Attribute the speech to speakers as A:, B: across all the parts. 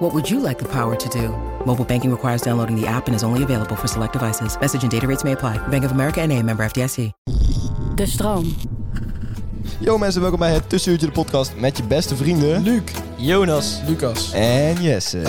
A: What would you like the power to do? Mobile banking requires downloading the app and is only available for select devices. Message and data rates may apply. Bank of America en a member FDIC.
B: De stroom.
C: Yo mensen, welkom bij het Tussenuurtje de podcast met je beste vrienden... Luc, Jonas
D: Lucas.
C: en Jesse.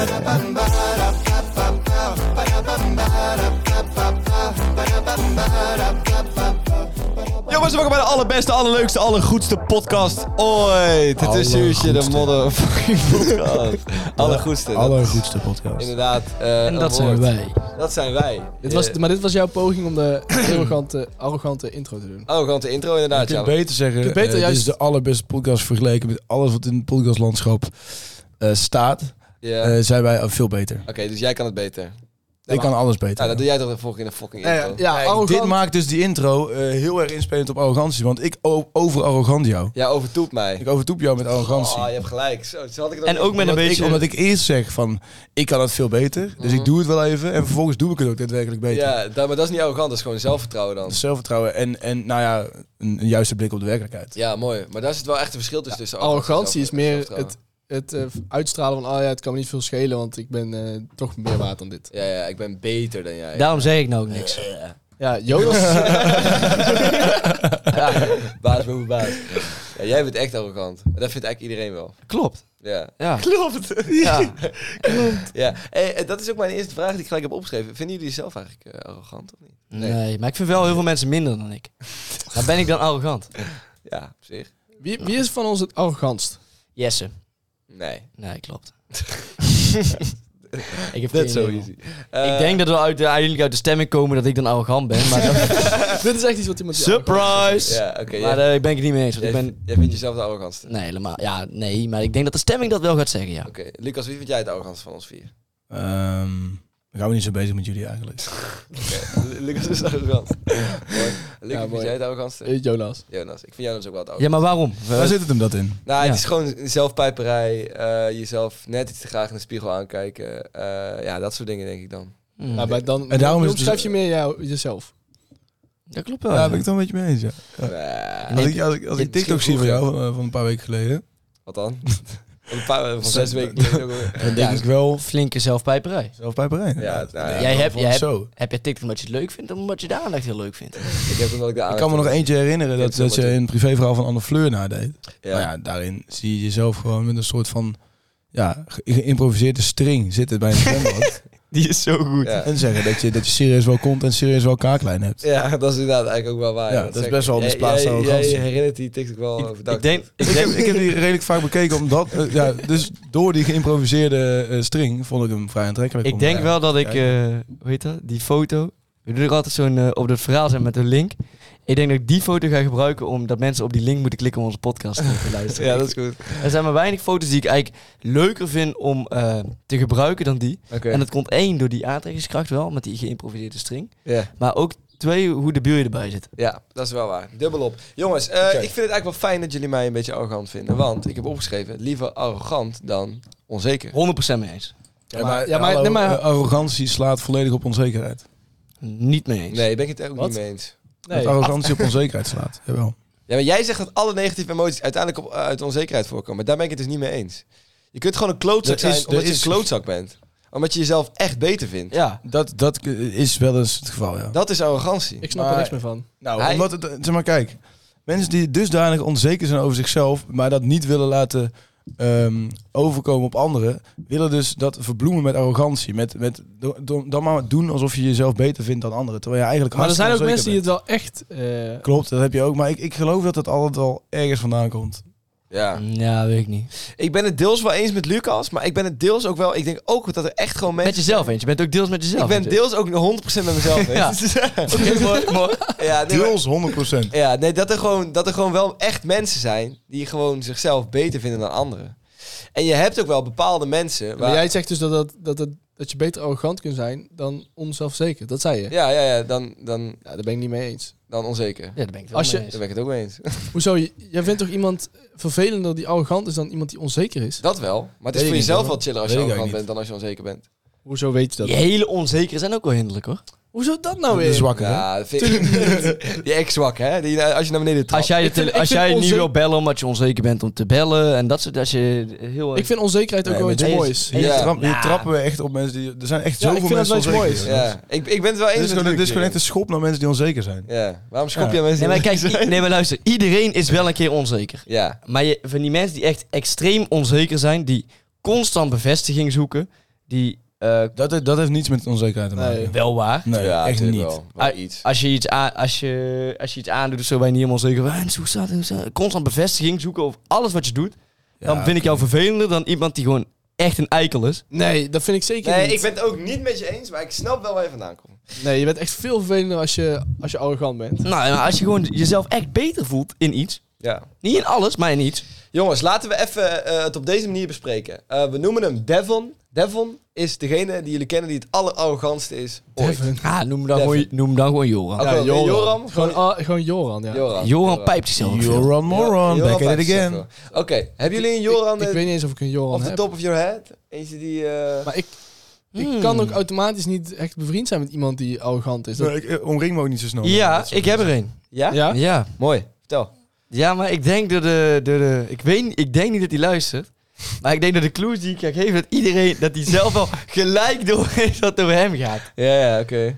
C: Yo mensen, welkom bij de allerbeste, allerleukste, allergoedste podcast ooit. Het Tussenuurtje, de
D: Allergoedste.
C: motherfucking podcast. Allergoedste. dat is
D: Allergoedste podcast.
C: Inderdaad. eh,
D: En
C: een
D: dat zijn
C: woord.
D: wij.
C: Dat zijn wij.
D: Dit was,
C: Eh,
D: maar dit was jouw poging om de arrogante, arrogante intro te doen.
C: Oh, gewoon de intro inderdaad,
E: Je
C: ja.
E: kunt beter zeggen,
D: kunt beter
E: eh, dit
D: juist-
E: is de allerbeste podcast vergeleken met alles wat in het podcastlandschap eh, staat.
C: Ja.
E: Eh,
C: Oké,
E: zijn wij veel beter.
C: dus jij kan het beter.
E: Ik kan alles beter.
C: Nou, dat doe jij toch de volgende keer in de fucking intro.
D: Ja,
E: Kijk,
D: arrogant.
E: dit maakt dus die intro eh, heel erg inspelend op arrogantie. Want ik o- overarrogant jou.
C: Ja, overtoep mij.
E: Ik overtoep jou met arrogantie.
C: Oh, je hebt gelijk. Zo, zo had ik het
F: En
C: niet.
F: ook met een
E: omdat,
F: beetje...
E: ik, omdat ik eerst zeg van, ik kan het veel beter. Dus ik doe het wel even. En vervolgens doe ik het ook daadwerkelijk beter.
C: Mhm. Ja, dat, maar dat is niet arrogant. Dat is gewoon zelfvertrouwen dan.
E: Dat is Zelfvertrouwen en, en nou ja, een, een juiste blik op de werkelijkheid.
C: Ja, mooi. Maar daar zit wel echt een verschil tussen. tussen
D: Arrogantie
C: zelf-
D: oh, is meer
C: zelfvertrouwen.
D: het, het eh, uitstralen van... Oh ja, het kan me niet veel schelen, want ik ben eh, toch meer waard dan dit.
C: Ja, ja, ik ben beter dan jij.
F: Daarom zeg ik nou ook niks.
D: Ja, Jonas...
C: Baas boven baas. Ja, jij bent echt arrogant. Maar dat vindt eigenlijk iedereen wel.
F: Klopt.
C: Ja.
F: Ja.
C: Klopt.
F: ja.
C: ja. Hey, eh, dat is ook mijn eerste vraag die ik gelijk heb opgeschreven. Vinden jullie jezelf eigenlijk eh, arrogant of niet?
F: Nee. maar ik vind wel heel veel mensen minder dan ik. Maar ben ik dan arrogant?
C: Ja, op zich.
D: wie, wie is van ons het arrogantst?
F: Jesse.
C: Nee.
F: Nee, klopt. ik heb geen
C: Net zo
F: idee, man.
C: easy. Eh,
F: ik denk dat we uit de, eigenlijk uit de stemming komen dat ik dan arrogant ben. Maar dat-
D: dit is echt iets wat iemand... die
F: surprise!
C: Ja, oké. jij,
F: Maar daar ben ik het niet mee eens. Want
C: jij,
F: ik ben...
C: jij vindt jezelf de arrogantste.
F: Nee, helemaal. Ja, nee. Maar ik denk dat de stemming dat wel gaat zeggen, ja.
C: Oké. Lucas, wie vind jij het arrogantste van ons vier?
E: Ehm ik hou me niet zo bezig met jullie eigenlijk.
C: Lucas is arrogant. mooi. Lucas,
D: mooi.
C: vind jij het arrogantste?
D: arrogant is. Eh, Jonas.
C: Jonas, ik vind jou dus ook wel het
F: Ja, maar waarom?
E: Waar zit het hem dat in?
C: Nou,
F: Ja.
C: het is gewoon zelfpijperij, eh, jezelf net iets te graag in de spiegel aankijken. eh, ja, dat soort dingen denk ik dan.
F: Hmm,
D: Nou, maar dan,
E: En daarom is
D: dan
E: het dus-
D: schrijf je meer jou, jezelf.
F: dat klopt wel.
E: Ja,
F: ja.
E: daar ben ik het wel een beetje mee eens, ja.
C: Eh,
E: Als
F: Nee,
E: ik, als ik, als ik
C: dit is
E: TikTok zie van
C: heel goed,
E: jou eh, van een paar weken geleden,
C: Wat dan? een paar van zes
E: Zes-
C: weken. geleden ook alweer.
E: dan denk ik wel
F: Flinke zelfpijperij.
E: zelfpijperij.
C: ja, nou ja,
F: jij hebt,
E: vond
F: jij
E: ik
F: hebt,
E: zo.
F: heb je TikTok omdat je het leuk vindt of omdat je de aandacht heel leuk vindt?
C: ik heb omdat ik de
E: Ik kan me nog eentje herinneren dat,
C: Ik heb
E: dat
C: het
E: je
C: wel
E: een privéverhaal van Anne Fleur nadeed.
C: Ja.
E: Nou ja, daarin zie je jezelf gewoon met een soort van ja, ge- geïmproviseerde string zitten bij een zwembad.
F: Die is zo goed.
C: Ja.
E: en zeggen dat je, dat je serieus wel komt en serieus wel kaaklijn hebt.
C: Ja, dat is inderdaad eigenlijk ook wel waar.
E: Ja,
C: ja,
E: dat is
C: zeker.
E: best wel
C: Jij-
E: misplaatst
C: jij-
E: arrogantie.
C: Jij herinnert die TikTok wel overdag.
F: Ik denk, ik
E: Ik heb,
F: denk,
E: ik heb die redelijk vaak bekeken, omdat, eh, ja, dus door die geïmproviseerde eh, string vond ik hem vrij aantrekkelijk.
F: Ik
E: om
F: denk
E: daar-
F: wel dat ik,
E: Ja.
F: eh hoe heet dat, die foto. We doen er altijd zo'n, eh, op dat verhaal zijn met een link. Ik denk dat ik die foto ga gebruiken om dat mensen op die link moeten klikken om onze podcast te luisteren.
C: Ja, dat is goed.
F: Er zijn maar weinig foto's die ik eigenlijk leuker vind om eh, te gebruiken dan die.
C: Oké.
F: En dat komt één door die aantrekkingskracht wel, met die geïmproviseerde string.
C: Ja.
F: Maar ook twee, hoe de je erbij zit.
C: Ja, dat is wel waar. Dubbel op. Jongens, eh, ik vind het eigenlijk wel fijn dat jullie mij een beetje arrogant vinden. Want ik heb opgeschreven, liever arrogant dan onzeker.
F: 100% mee eens.
E: Ja, maar,
D: ja, maar-
E: hallo,
D: nee, maar-
E: eh, arrogantie slaat volledig op onzekerheid.
F: Niet mee eens.
C: Nee, ik ben ik het ook
D: Wat?
C: niet mee eens.
D: Nee.
E: Dat arrogantie op onzekerheid slaat. Jawel.
C: Ja, maar jij zegt dat alle negatieve emoties uiteindelijk op, uit onzekerheid voorkomen. Maar daar ben ik het dus niet mee eens. Je kunt gewoon een klootzak
E: Er is-
C: zijn omdat
E: er
C: je
E: is-
C: een klootzak bent. Omdat je jezelf echt beter vindt.
F: Ja.
E: Dat, dat is wel eens het geval, ja.
C: Dat is arrogantie.
D: Ik snap er
E: Maar-
D: niks meer van.
E: nou,
C: Hij-
E: omdat het, eh, zeg maar, kijk. Mensen die dusdanig onzeker zijn over zichzelf, maar dat niet willen laten ehm, overkomen op anderen, willen dus dat verbloemen met arrogantie. Met, met, do- do- dan maar doen alsof je jezelf beter vindt dan anderen. Terwijl je eigenlijk
D: Maar er zijn ook
E: hartstikke
D: mensen die
E: onzeker
D: het wel echt... eh,
E: bent. Klopt, dat heb je ook. Maar ik, ik geloof dat het altijd al ergens vandaan komt.
C: Ja.
F: Ja, weet ik niet.
C: Ik ben het deels wel eens met Lucas, maar ik ben het deels ook wel... Ik denk ook dat er echt gewoon mensen...
F: Met jezelf eens. Je bent ook deels met jezelf.
C: ik ben
F: eens.
C: deels ook 100% met mezelf.
F: Ja.
C: eens. mooi, mooi. Ja, nee, maar-
E: Deels 100%.
C: Ja, nee, dat er, gewoon, dat er gewoon wel echt mensen zijn die gewoon zichzelf beter vinden dan anderen. En je hebt ook wel bepaalde mensen.
D: Maar
C: Waar,
D: jij zegt dus dat, dat, dat het dat je beter arrogant kunt zijn dan onzelfverzekerd. Dat zei je.
C: Ja,
D: Ja.
C: ja, ja dan, dan,
D: daar ben ik niet mee eens.
C: dan onzeker.
F: Ja, daar ben ik het wel
D: Als je-
F: mee eens.
C: Daar ben ik het ook mee eens.
D: Hoezo? J- Jij vindt toch iemand vervelender die arrogant is dan iemand die onzeker is?
C: Dat wel. Maar het
E: Weet
C: is
E: ik
C: voor
E: niet,
C: jezelf
E: hoor.
C: wel chiller als
E: Weet
C: je
E: ik eigenlijk
C: arrogant
E: niet.
C: bent dan als je onzeker bent.
D: Hoezo weet je dat?
F: Die hele onzekere zijn ook wel hinderlijk hoor.
D: Hoezo dat nou
E: De
D: weer?
E: zwakke, hè?
C: Ja, dat vind ik niet. Die echt zwak, hè? Die, eh, als je naar beneden trapt.
F: Als jij, de
D: Ik vind-
F: tele-
D: ik
F: als
D: vind
F: jij niet
D: onzeker-
F: wil bellen omdat je onzeker bent om te bellen en dat soort als je heel
D: Ik vind onzekerheid ook
E: Nee,
D: wel
E: maar
D: iets
E: dit-
D: moois.
E: Hier,
C: Ja.
E: trap- hier
F: Ja.
E: trappen we echt op mensen die... Er zijn echt
D: Ja, ik
E: zoveel
D: vind dat
E: mensen
D: wel iets
E: onzeker.
D: moois.
E: Ja.
C: Ja, ik, ik ben het wel eens
E: Dit is
C: met
E: gewoon, dit is
C: Luc,
E: gewoon echt een
C: Jeroen.
E: schop naar mensen die onzeker zijn.
C: Ja, waarom schop je
E: Ja.
C: mensen
F: Nee maar,
C: die-
F: kijk, i- nee, maar luister. Iedereen is wel een keer onzeker.
C: Ja,
F: Maar je, van die mensen die echt extreem onzeker zijn, die constant bevestiging zoeken, die eh,
E: Dat, he- dat heeft niets met onzekerheid te maken.
D: Nee.
F: wel waar.
E: Nee,
C: ja
E: echt
C: natuurlijk
E: niet.
C: Wel, wel
F: Ah,
C: iets.
F: Als je iets, aan, als je, als je iets aandoet of zo, ben je niet helemaal zeker. van, "Ah, Hoe staat het? Hoe staat het?" Constant bevestiging zoeken over alles wat je doet. dan vind ik jou vervelender dan iemand die gewoon echt een eikel is.
D: Nee, dat vind ik zeker
C: Nee,
D: niet.
C: ik ben het ook niet met je eens, maar ik snap wel waar je vandaan komt.
D: Nee, je bent echt veel vervelender als je, als je arrogant bent.
F: Nou, en als je gewoon jezelf echt beter voelt in iets.
C: Ja.
F: Niet in alles, maar in iets.
C: Jongens, laten we even eh, het op deze manier bespreken. Eh, we noemen hem Devon. Devon is degene die jullie kennen die het allerarrogantste is ooit.
D: Devon.
F: Ah, noem dan,
C: Devin.
F: gewoon, noem dan gewoon Joran.
C: Oké,
D: Ja, Joran.
C: Joram.
D: Gewoon, ah, gewoon Joran, ja.
C: Joran.
F: Joran pijpt zichzelf. ook veel.
E: You're on moron,
C: Ja,
E: back at
C: Joran
E: it
C: Paxton.
E: again.
C: Oké, hebben jullie een Joran
D: Ik, ik
C: eh,
D: weet niet eens of ik een Joran
C: off the
D: heb.
C: top of your head? Eentje die... eh,
D: Maar ik, ik
F: Hmm.
D: kan ook automatisch niet echt bevriend zijn met iemand die arrogant is. Dat-
E: Nee, ik eh, omring me ook niet zo snel.
F: Ja, ik heb er een.
C: Ja?
D: ja?
F: Ja.
C: Mooi. Vertel.
F: Ja, maar ik denk dat de, de, de- ik weet, niet- ik denk niet dat hij luistert. Maar ik denk dat de clues die ik ga geven, dat iedereen, dat hij zelf wel gelijk door heeft dat het over hem gaat.
C: Ja, ja, oké.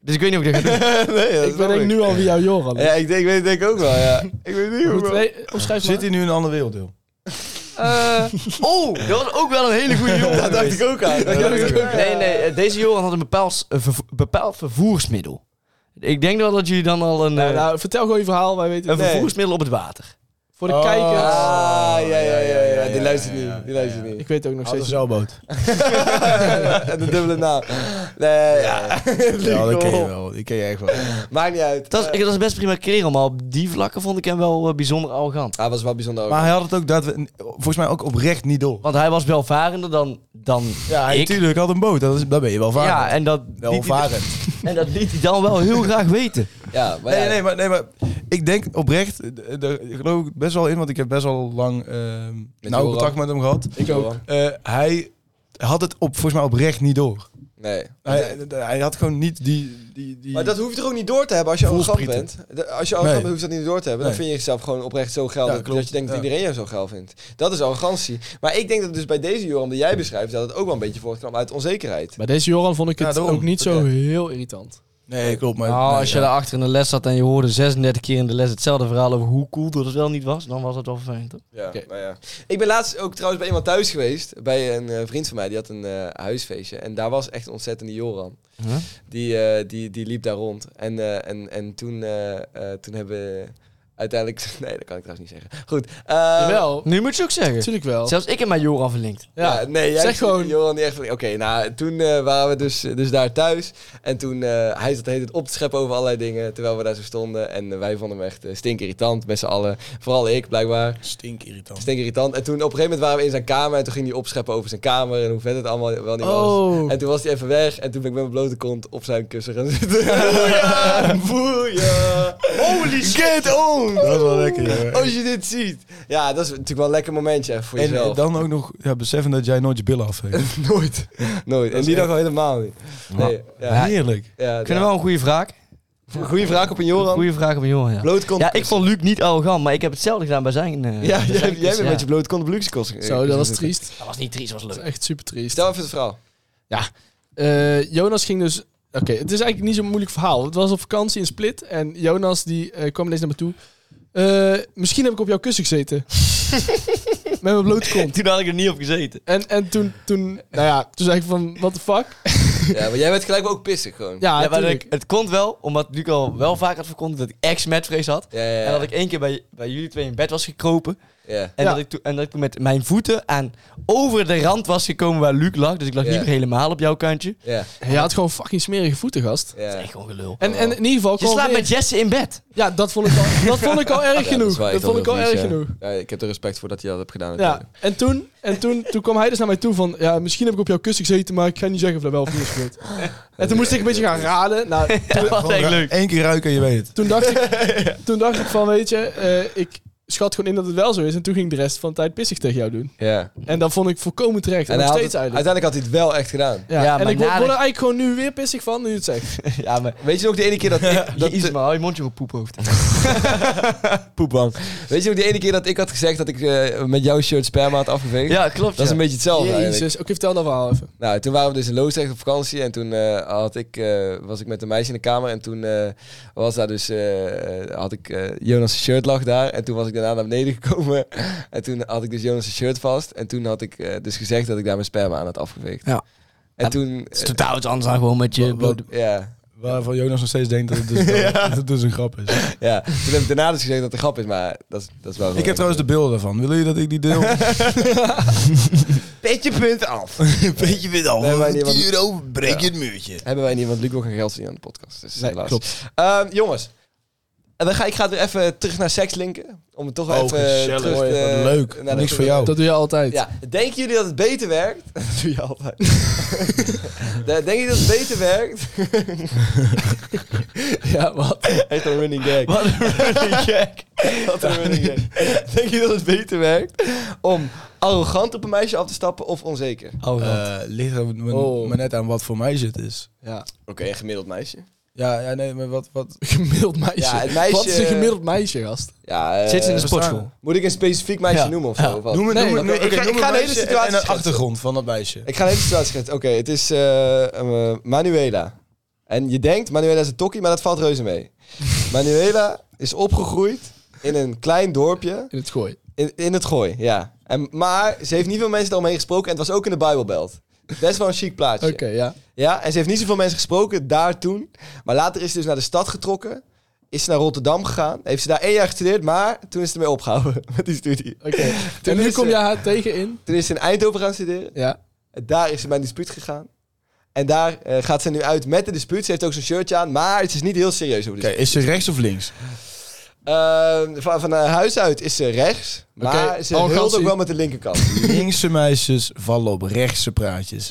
F: Dus ik weet niet of ik dat ga doen.
C: nee, dat
D: Ik
C: is
D: ben
C: mooi.
D: denk nu al wie jouw Joran is.
C: Ja, ik denk, ik weet het denk ik ook wel, ja. ik weet het niet
D: Goed,
C: hoe
D: nee, omschrijf
E: Zit
D: maar.
E: hij nu in een ander werelddeel?
F: Eh, oh, dat was ook wel een hele goede jongen.
C: Dat dacht ik ook aan. Dat dacht ik ook aan.
F: Nee, nee, eh, deze Johan had een bepaald, eh, vervo- bepaald vervoersmiddel. Ik denk wel dat jullie dan al een, eh,
D: Nou, nou, vertel gewoon je verhaal, wij weten
F: een
D: het.
C: nee.
F: vervoersmiddel op het water.
D: Voor de
E: Oh.
D: kijkers.
C: Ah, ja, ja, ja, ja. Die
E: ja,
C: luistert
E: ja, ja,
C: niet. Die luistert
E: ja,
C: niet.
D: Ik weet ook nog
E: Had een
D: steeds.
E: zeilboot.
C: En de dubbele naam. Nee, ja.
E: Ja, dat ken je wel. Die ken je echt wel.
C: Maakt niet uit.
F: Dat is,
C: Eh,
F: dat is best prima kerel, maar op die vlakken vond ik hem wel eh, bijzonder arrogant.
C: Hij was wel bijzonder ook.
E: Maar hij had het ook dat we, volgens mij ook oprecht niet door.
F: Want hij was welvarender dan, dan
E: Ja, hij
F: ik.
E: natuurlijk had een boot. Dat, is, dat ben je wel varend.
F: Ja, en dat,
E: wel
F: liet hij,
E: varend.
F: en dat liet hij dan wel heel graag weten.
C: Ja, maar
E: Nee,
C: ja,
E: nee, maar, nee, maar ik denk oprecht, eh, daar geloof ik best wel in, want ik heb best wel lang ehm nauw
C: Joran.
E: contact met hem gehad.
C: ik ook.
E: Eh, hij had het op, volgens mij oprecht niet door.
C: Nee.
E: Hij, hij had gewoon niet die... die, die
C: Maar dat hoef je toch ook niet door te hebben als je arrogant bent?
E: Voelsprieten.
C: De- Als je arrogant
E: Nee.
C: bent, hoef je dat niet door te hebben. Dan
E: Nee.
C: vind je jezelf gewoon oprecht zo geil
E: Ja,
C: dat,
E: klopt.
C: dat je denkt dat
E: Ja.
C: iedereen jou zo geil vindt. Dat is arrogantie. Maar ik denk dat dus bij deze Joram die jij beschrijft, dat het ook wel een beetje voortkwam uit onzekerheid.
D: Bij deze Joran vond ik
E: Ja,
D: het
E: daarom.
D: ook niet zo
E: Oké.
D: heel irritant.
E: Nee, klopt. Maar,
F: Nou,
E: nee,
F: als je
E: ja.
F: daar achter in de les zat en je hoorde 36 keer in de les hetzelfde verhaal over hoe cool dat het wel niet was, dan was dat wel vervelend. hoor.
C: Ja,
D: Oké.
C: nou ja. Ik ben laatst ook trouwens bij iemand thuis geweest. Bij een eh, vriend van mij, die had een eh, huisfeestje. En daar was echt een ontzettende Joran.
F: Huh?
C: Die, eh, die, die liep daar rond. En, eh, en, en toen, eh, eh, toen hebben we uiteindelijk... Nee, dat kan ik trouwens niet zeggen. Goed. eh,
D: Jawel,
F: Nu moet je ook zeggen.
D: natuurlijk wel.
F: Zelfs ik heb mijn Joran verlinkt.
C: Ja,
D: Ja,
C: nee, jij
D: zeg gewoon-
C: Johan die echt van, oké, nou, toen eh, waren we dus, dus daar thuis. En toen, eh, hij zat de hele tijd op te scheppen over allerlei dingen, terwijl we daar zo stonden. En eh, wij vonden hem echt eh, stinkerritant, met z'n allen. Vooral ik, blijkbaar.
E: Stinkirritant.
C: Stinkerritant. En toen op een gegeven moment waren we in zijn kamer en toen ging hij opscheppen over zijn kamer en hoe vet het allemaal wel niet was.
D: Oh,
C: En toen was hij even weg en toen ben ik met mijn blote kont op zijn kussen gaan zitten. Boeia! Boeia! Holy shit! on!
E: Dat is wel lekker, joh.
C: Als je dit ziet. Ja, dat is natuurlijk wel een lekker momentje even voor
E: En
C: jezelf.
E: dan ook nog ja, beseffen dat jij nooit je billen afveegt.
C: Nooit. Nooit. En die dag al helemaal niet. Nee, ja.
E: Heerlijk.
C: Ja,
F: Ik vind het wel een goede vraag.
C: een goede vraag op een Joran.
F: Goede vraag op mijn Joran, ja.
C: Blootkont.
F: Ja, ik vond Luc niet arrogant, maar ik heb hetzelfde gedaan bij zijn. eh,
C: Ja,
F: bij
C: jij,
F: zijn
C: jij bent
F: kussen,
C: met
F: ja.
C: je blootkont op Luxicons gegaan.
D: zo, dat was triest.
F: Dat was niet triest, dat was
D: Dat
F: leuk.
D: is echt super triest.
C: Stel even het verhaal.
D: Eh, Jonas ging dus... Oké, het is eigenlijk niet zo'n moeilijk verhaal. Het was op vakantie in Split en Jonas die eh, kwam ineens naar me toe. Eh, misschien heb ik op jouw kussen gezeten. Met mijn blote kont.
F: Toen had ik er niet op gezeten.
D: En, en toen, toen, nou ja, toen zei ik van, what the fuck?
C: Ja, maar jij werd gelijk wel ook pissig gewoon.
D: Ja,
F: ja, maar
D: tuurlijk.
F: ik- het komt wel, omdat Luc al wel vaak had verkondigd dat ik echt smetvrees had.
C: Ja, ja, ja.
F: En dat ik één keer bij, bij jullie twee in bed was gekropen.
C: Ja.
F: En,
D: Ja.
F: dat ik toen- en dat ik toen met mijn voeten aan over de rand was gekomen waar Luc lag. Dus ik lag
C: Ja.
F: niet meer helemaal op jouw kantje.
C: Ja.
D: Hij had gewoon fucking smerige voeten, gast.
C: Ja.
F: Dat is echt gewoon gelul.
D: En, en in ieder geval...
F: Je
D: kwam
F: slaapt
D: weer-
F: met Jesse in bed.
D: Ja, dat vond ik al, dat vond ik al erg
C: Ja,
D: genoeg.
C: is wel
D: Dat,
C: echt
D: vond ik
C: heel
D: al
C: vies,
D: erg
C: ja.
D: genoeg.
C: Ja, ik heb er respect voor dat hij dat hebt gedaan.
D: Ja, en toen En toen, toen kwam hij dus naar mij toe van... Ja, misschien heb ik op jouw kussen gezeten, maar ik ga niet zeggen of dat wel of niet is gebeurd. En toen moest ik een beetje gaan raden. Nou,
F: Wat echt leuk.
E: Eén keer ruiken en je weet het.
D: toen dacht ik, toen dacht ik van, weet je... eh, ik schat gewoon in dat het wel zo is. En toen ging ik de rest van de tijd pissig tegen jou doen.
C: Ja.
D: En dat vond ik volkomen terecht. En,
C: hij
D: nog
C: had
D: steeds
C: het-
D: eigenlijk.
C: uiteindelijk had hij het wel echt gedaan.
D: Ja,
F: Ja,
D: en
F: maar
D: ik word,
F: nadat-
D: word er eigenlijk gewoon nu weer pissig van, nu je het zegt.
F: Ja, maar...
C: Weet je nog die ene keer dat ik... dat,
F: Jezus, maar hou je mondje op poephoofd.
C: poepbang. Weet je nog die ene keer dat ik had gezegd dat ik eh, met jouw shirt sperma had afgeveegd?
F: Ja, klopt.
C: Dat is
F: ja.
C: een beetje hetzelfde Oh, eigenlijk.
D: Jezus, oké, vertel dat verhaal even.
C: Nou, toen waren we dus in Loosdrecht op vakantie en toen eh, had ik, eh, was ik met een meisje in de kamer en toen eh, was daar dus, eh, eh, had ik, eh, Jonas' shirt lag daar en toen was ik daarna naar beneden gekomen en toen had ik dus Jonas' shirt vast en toen had ik eh, dus gezegd dat ik daar mijn sperma aan had afgeveegd.
F: Ja.
C: En toen,
F: Het is totaal iets anders dan gewoon met je...
E: Wat- wat-
F: blote-
C: eh, ja,
E: Waarvan Jonas nog steeds denkt dat het dus, dat het dus een grap is.
C: ja, toen heb ik daarna dus gezegd dat het een grap is, maar dat is, dat is wel
E: Ik heb trouwens de beelden daarvan. Willen jullie dat ik die deel?
F: Petje punt af.
E: Beetje wit al.
C: Nee, maar niet, want-
E: euro breek je het muurtje.
C: Hebben wij niet, want Luc wil geen geld zien aan de podcast. Dus
D: Nee,
C: helaas.
D: klopt.
C: Ehm, jongens, en dan ga, ik ga weer even terug naar seks linken. Om het toch
E: Oh,
C: even
E: gezellig.
C: terug
E: Mooi,
F: Eh,
C: te-
E: wat leuk.
F: nou,
C: naar de-
E: Niks voor jou.
D: Dat doe je altijd.
C: Oh. Ja, denken jullie dat het beter werkt? Dat doe je altijd. Denken jullie dat het beter werkt?
D: Ja, wat?
C: Echt een running gag.
F: Wat een running gag.
C: Wat een running gag. Denken jullie dat het beter werkt om arrogant op een meisje af te stappen of onzeker? Oké,
E: Eh, ligt er maar,
D: Oh.
E: maar net aan wat voor meisje het is.
D: Ja.
C: een gemiddeld meisje.
E: Ja, ja nee, maar wat... wat
D: Gemiddeld meisje.
C: Ja, het meisje-
D: Wat is een gemiddeld meisje, gast?
C: Ja, eh,
F: Zit ze in de
E: bestaan-
F: sportschool?
C: Moet ik een specifiek meisje
F: Ja.
C: noemen of zo? of wat?
E: noem het,
D: Nee,
E: noem het,
C: oké,
E: oké,
C: ik ga-
E: noem
C: ik
E: het
C: ga de
E: meisje
C: hele situatie
E: En de
C: schetsen.
E: achtergrond van dat meisje.
C: Ik ga even situatie schetsen. Oké, het is eh, eh, Manuela. En je denkt, Manuela is een tokkie, maar dat valt reuze mee. Manuela is opgegroeid in een klein dorpje
D: In het gooi.
C: In, in het gooi, ja. En, maar ze heeft niet veel mensen eromheen gesproken en het was ook in de Bijbelbelt. Best wel een chic plaatsje.
D: Oké, ja.
C: Ja, en ze heeft niet zoveel mensen gesproken daar toen. Maar later is ze dus naar de stad getrokken. Is ze naar Rotterdam gegaan. Heeft ze daar één jaar gestudeerd, maar toen is ze ermee opgehouden met die studie.
D: Oké. En nu
C: is eh,
D: kom
C: ze-
D: je haar tegen in.
C: Toen is ze in Eindhoven gaan studeren.
D: Ja.
C: En daar is ze bij een dispuut gegaan. En daar eh, gaat ze nu uit met de dispuut. Ze heeft ook zo'n shirtje aan, maar het is niet heel serieus over de
E: Oké, is ze rechts of links?
C: dispuut. Eh, van, van haar huis uit is ze rechts, maar
D: Oké,
C: ze hult ook
D: arrogantie.
C: wel met de linkerkant.
E: Linkse meisjes vallen op rechtse praatjes.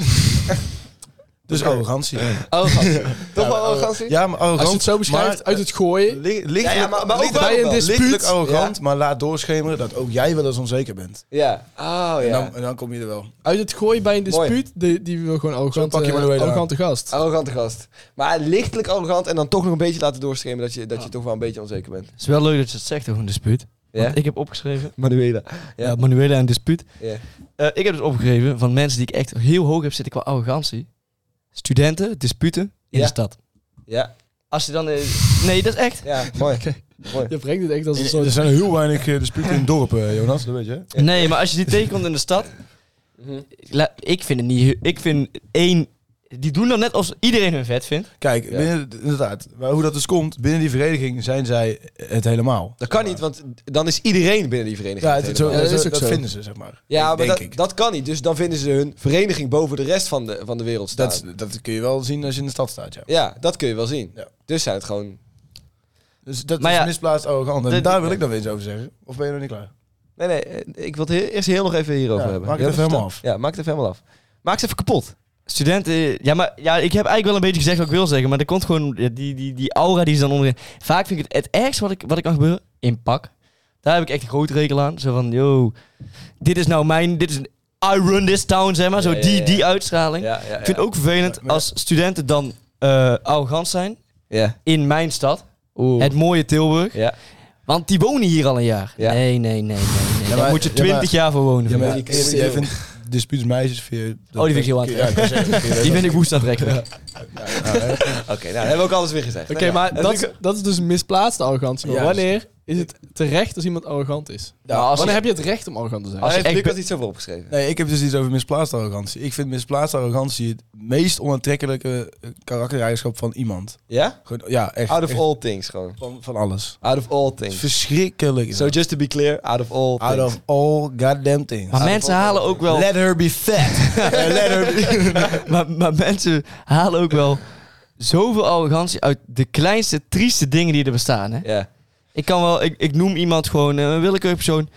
E: dus arrogantie.
C: Arrogantie. Toch wel arrogantie?
E: Ja, maar arrogant.
D: Als je het zo beschrijft,
E: maar, eh,
D: uit het gooien.
E: li- lichtelijk-
C: Ja, ja, maar- maar ook
E: lichtelijk-
C: bij een dispuut.
E: lichtelijk arrogant,
C: Ja.
E: maar laat doorschemeren dat ook jij wel eens onzeker bent.
C: Ja. Oh
E: En,
C: ja.
E: dan, en dan kom je er wel.
D: Uit het gooien bij een
C: Mooi. Oh.
D: dispuut. Die, die wil gewoon arrogante,
E: pak je Manuela aan.
D: arrogante gast.
C: Arrogante gast. Maar lichtelijk arrogant en dan toch nog een beetje laten doorstremen dat je, dat je toch wel een beetje onzeker bent.
F: Het is wel leuk dat je het zegt over een dispuut.
C: Ja?
F: Want ik heb opgeschreven...
C: Manuela. Ja.
F: Ja, Manuela en dispuut.
C: Ja.
F: Eh, ik heb dus opgegeven van mensen die ik echt heel hoog heb zitten qua arrogantie. Studenten, disputen
C: Ja.
F: in de stad.
C: Ja.
F: Als je dan... eh, nee, dat is echt.
C: Ja, mooi.
D: Je brengt het echt als een
E: In-
D: soort...
E: er zijn heel weinig eh, disputen in dorpen, eh, Jonas, dat weet je. hè?
C: Ja.
F: Nee, maar als je die tegenkomt in de stad...
C: Mhm.
F: la- ik vind het niet... he- Ik vind één... Die doen dan net alsof iedereen hun vet vindt.
E: Kijk,
C: Ja.
E: binnen, inderdaad, maar hoe dat dus komt, binnen die vereniging zijn zij het helemaal.
C: Dat kan niet, want dan is iedereen binnen die vereniging.
E: Ja,
C: het
E: het, is zo,
C: helemaal.
D: Ja, dat is
E: dat,
D: ook
E: dat
D: zo.
E: vinden ze, zeg maar.
C: ja maar
E: denk
C: dat,
E: ik.
C: dat kan niet. Dus dan vinden ze hun vereniging boven de rest van de, van de wereld staan.
E: Dat, is- dat kun je wel zien als je in de stad staat, ja.
C: Ja, dat kun je wel zien.
E: Ja.
C: Dus zijn het gewoon...
E: Dus dat
F: Maar
E: is
F: ja,
E: misplaatst arrogant. En
F: dit-
E: daar wil ik dan weer iets over zeggen. Of ben je nog niet klaar?
C: Nee, nee. eh, Ik wil het heel- eerst heel nog even hierover
E: Ja,
C: hebben.
E: maak het
C: Heel
E: even helemaal af.
C: Ja, maak het even helemaal af. Maak het even kapot.
F: Studenten... Ja, maar ja, ik heb eigenlijk wel een beetje gezegd wat ik wil zeggen. Maar er komt gewoon... ja, die, die, die aura die ze dan onderin... Vaak vind ik het het ergste wat ik, wat ik kan gebeuren... In pak. Daar heb ik echt een grote rekel aan. Zo van, yo... Dit is nou mijn... Dit is een... I run this town, zeg maar. Zo
C: Ja, ja,
F: die,
C: ja.
F: die uitstraling.
C: Ja, ja, ja.
F: Ik vind het ook vervelend
E: Ja, maar-
F: als studenten dan eh, arrogant zijn
C: Ja.
F: in mijn stad,
C: Oeh.
F: het mooie Tilburg.
C: Ja.
F: Want die wonen hier al een jaar.
C: Ja.
F: Nee, nee, nee, nee. nee.
E: maar-
F: Daar moet je
E: ja, maar-
F: twintig jaar voor wonen.
E: Ja,
F: vind
E: maar
F: ik.
E: ik, jij vindt disputes meisjes vind je...
F: Oh, die vind ik heel
E: Ja, ik kan zeggen, oké, dat-
F: die vind ik woest aantrekkelijk.
E: ja, hè.
C: Oké, nou, dan hebben we ook alles weer gezegd.
D: Oké, maar dat, is- dat is dus misplaatste arrogantie. Maar
E: Juist.
D: wanneer is het terecht als iemand arrogant is?
F: Maar als
D: Wanneer
F: je-
D: heb je het recht om arrogant te zijn?
F: Als
C: Nou, Als je
F: je echt
C: Luc
F: be-
C: had iets over opgeschreven.
E: Nee, ik heb dus iets over misplaatste arrogantie. Ik vind misplaatste arrogantie het meest onaantrekkelijke eh, karaktereigenschap van iemand.
C: Ja?
E: Gewoon, ja, echt.
C: Out of
E: echt
C: all things gewoon.
E: van, van alles.
C: Out of all
E: Het is
C: things.
E: verschrikkelijk. is
C: So
E: dat.
C: just to be clear, out of all
E: Out
C: things.
E: of all goddamn things.
F: Maar mensen halen ook wel.
E: Let her be fat. Let her be...
F: maar, maar mensen halen ook wel zoveel arrogantie uit de kleinste, trieste dingen die er bestaan. Hè?
C: Ja.
F: Ik kan wel, ik, ik noem iemand gewoon eh, een willekeurig persoon.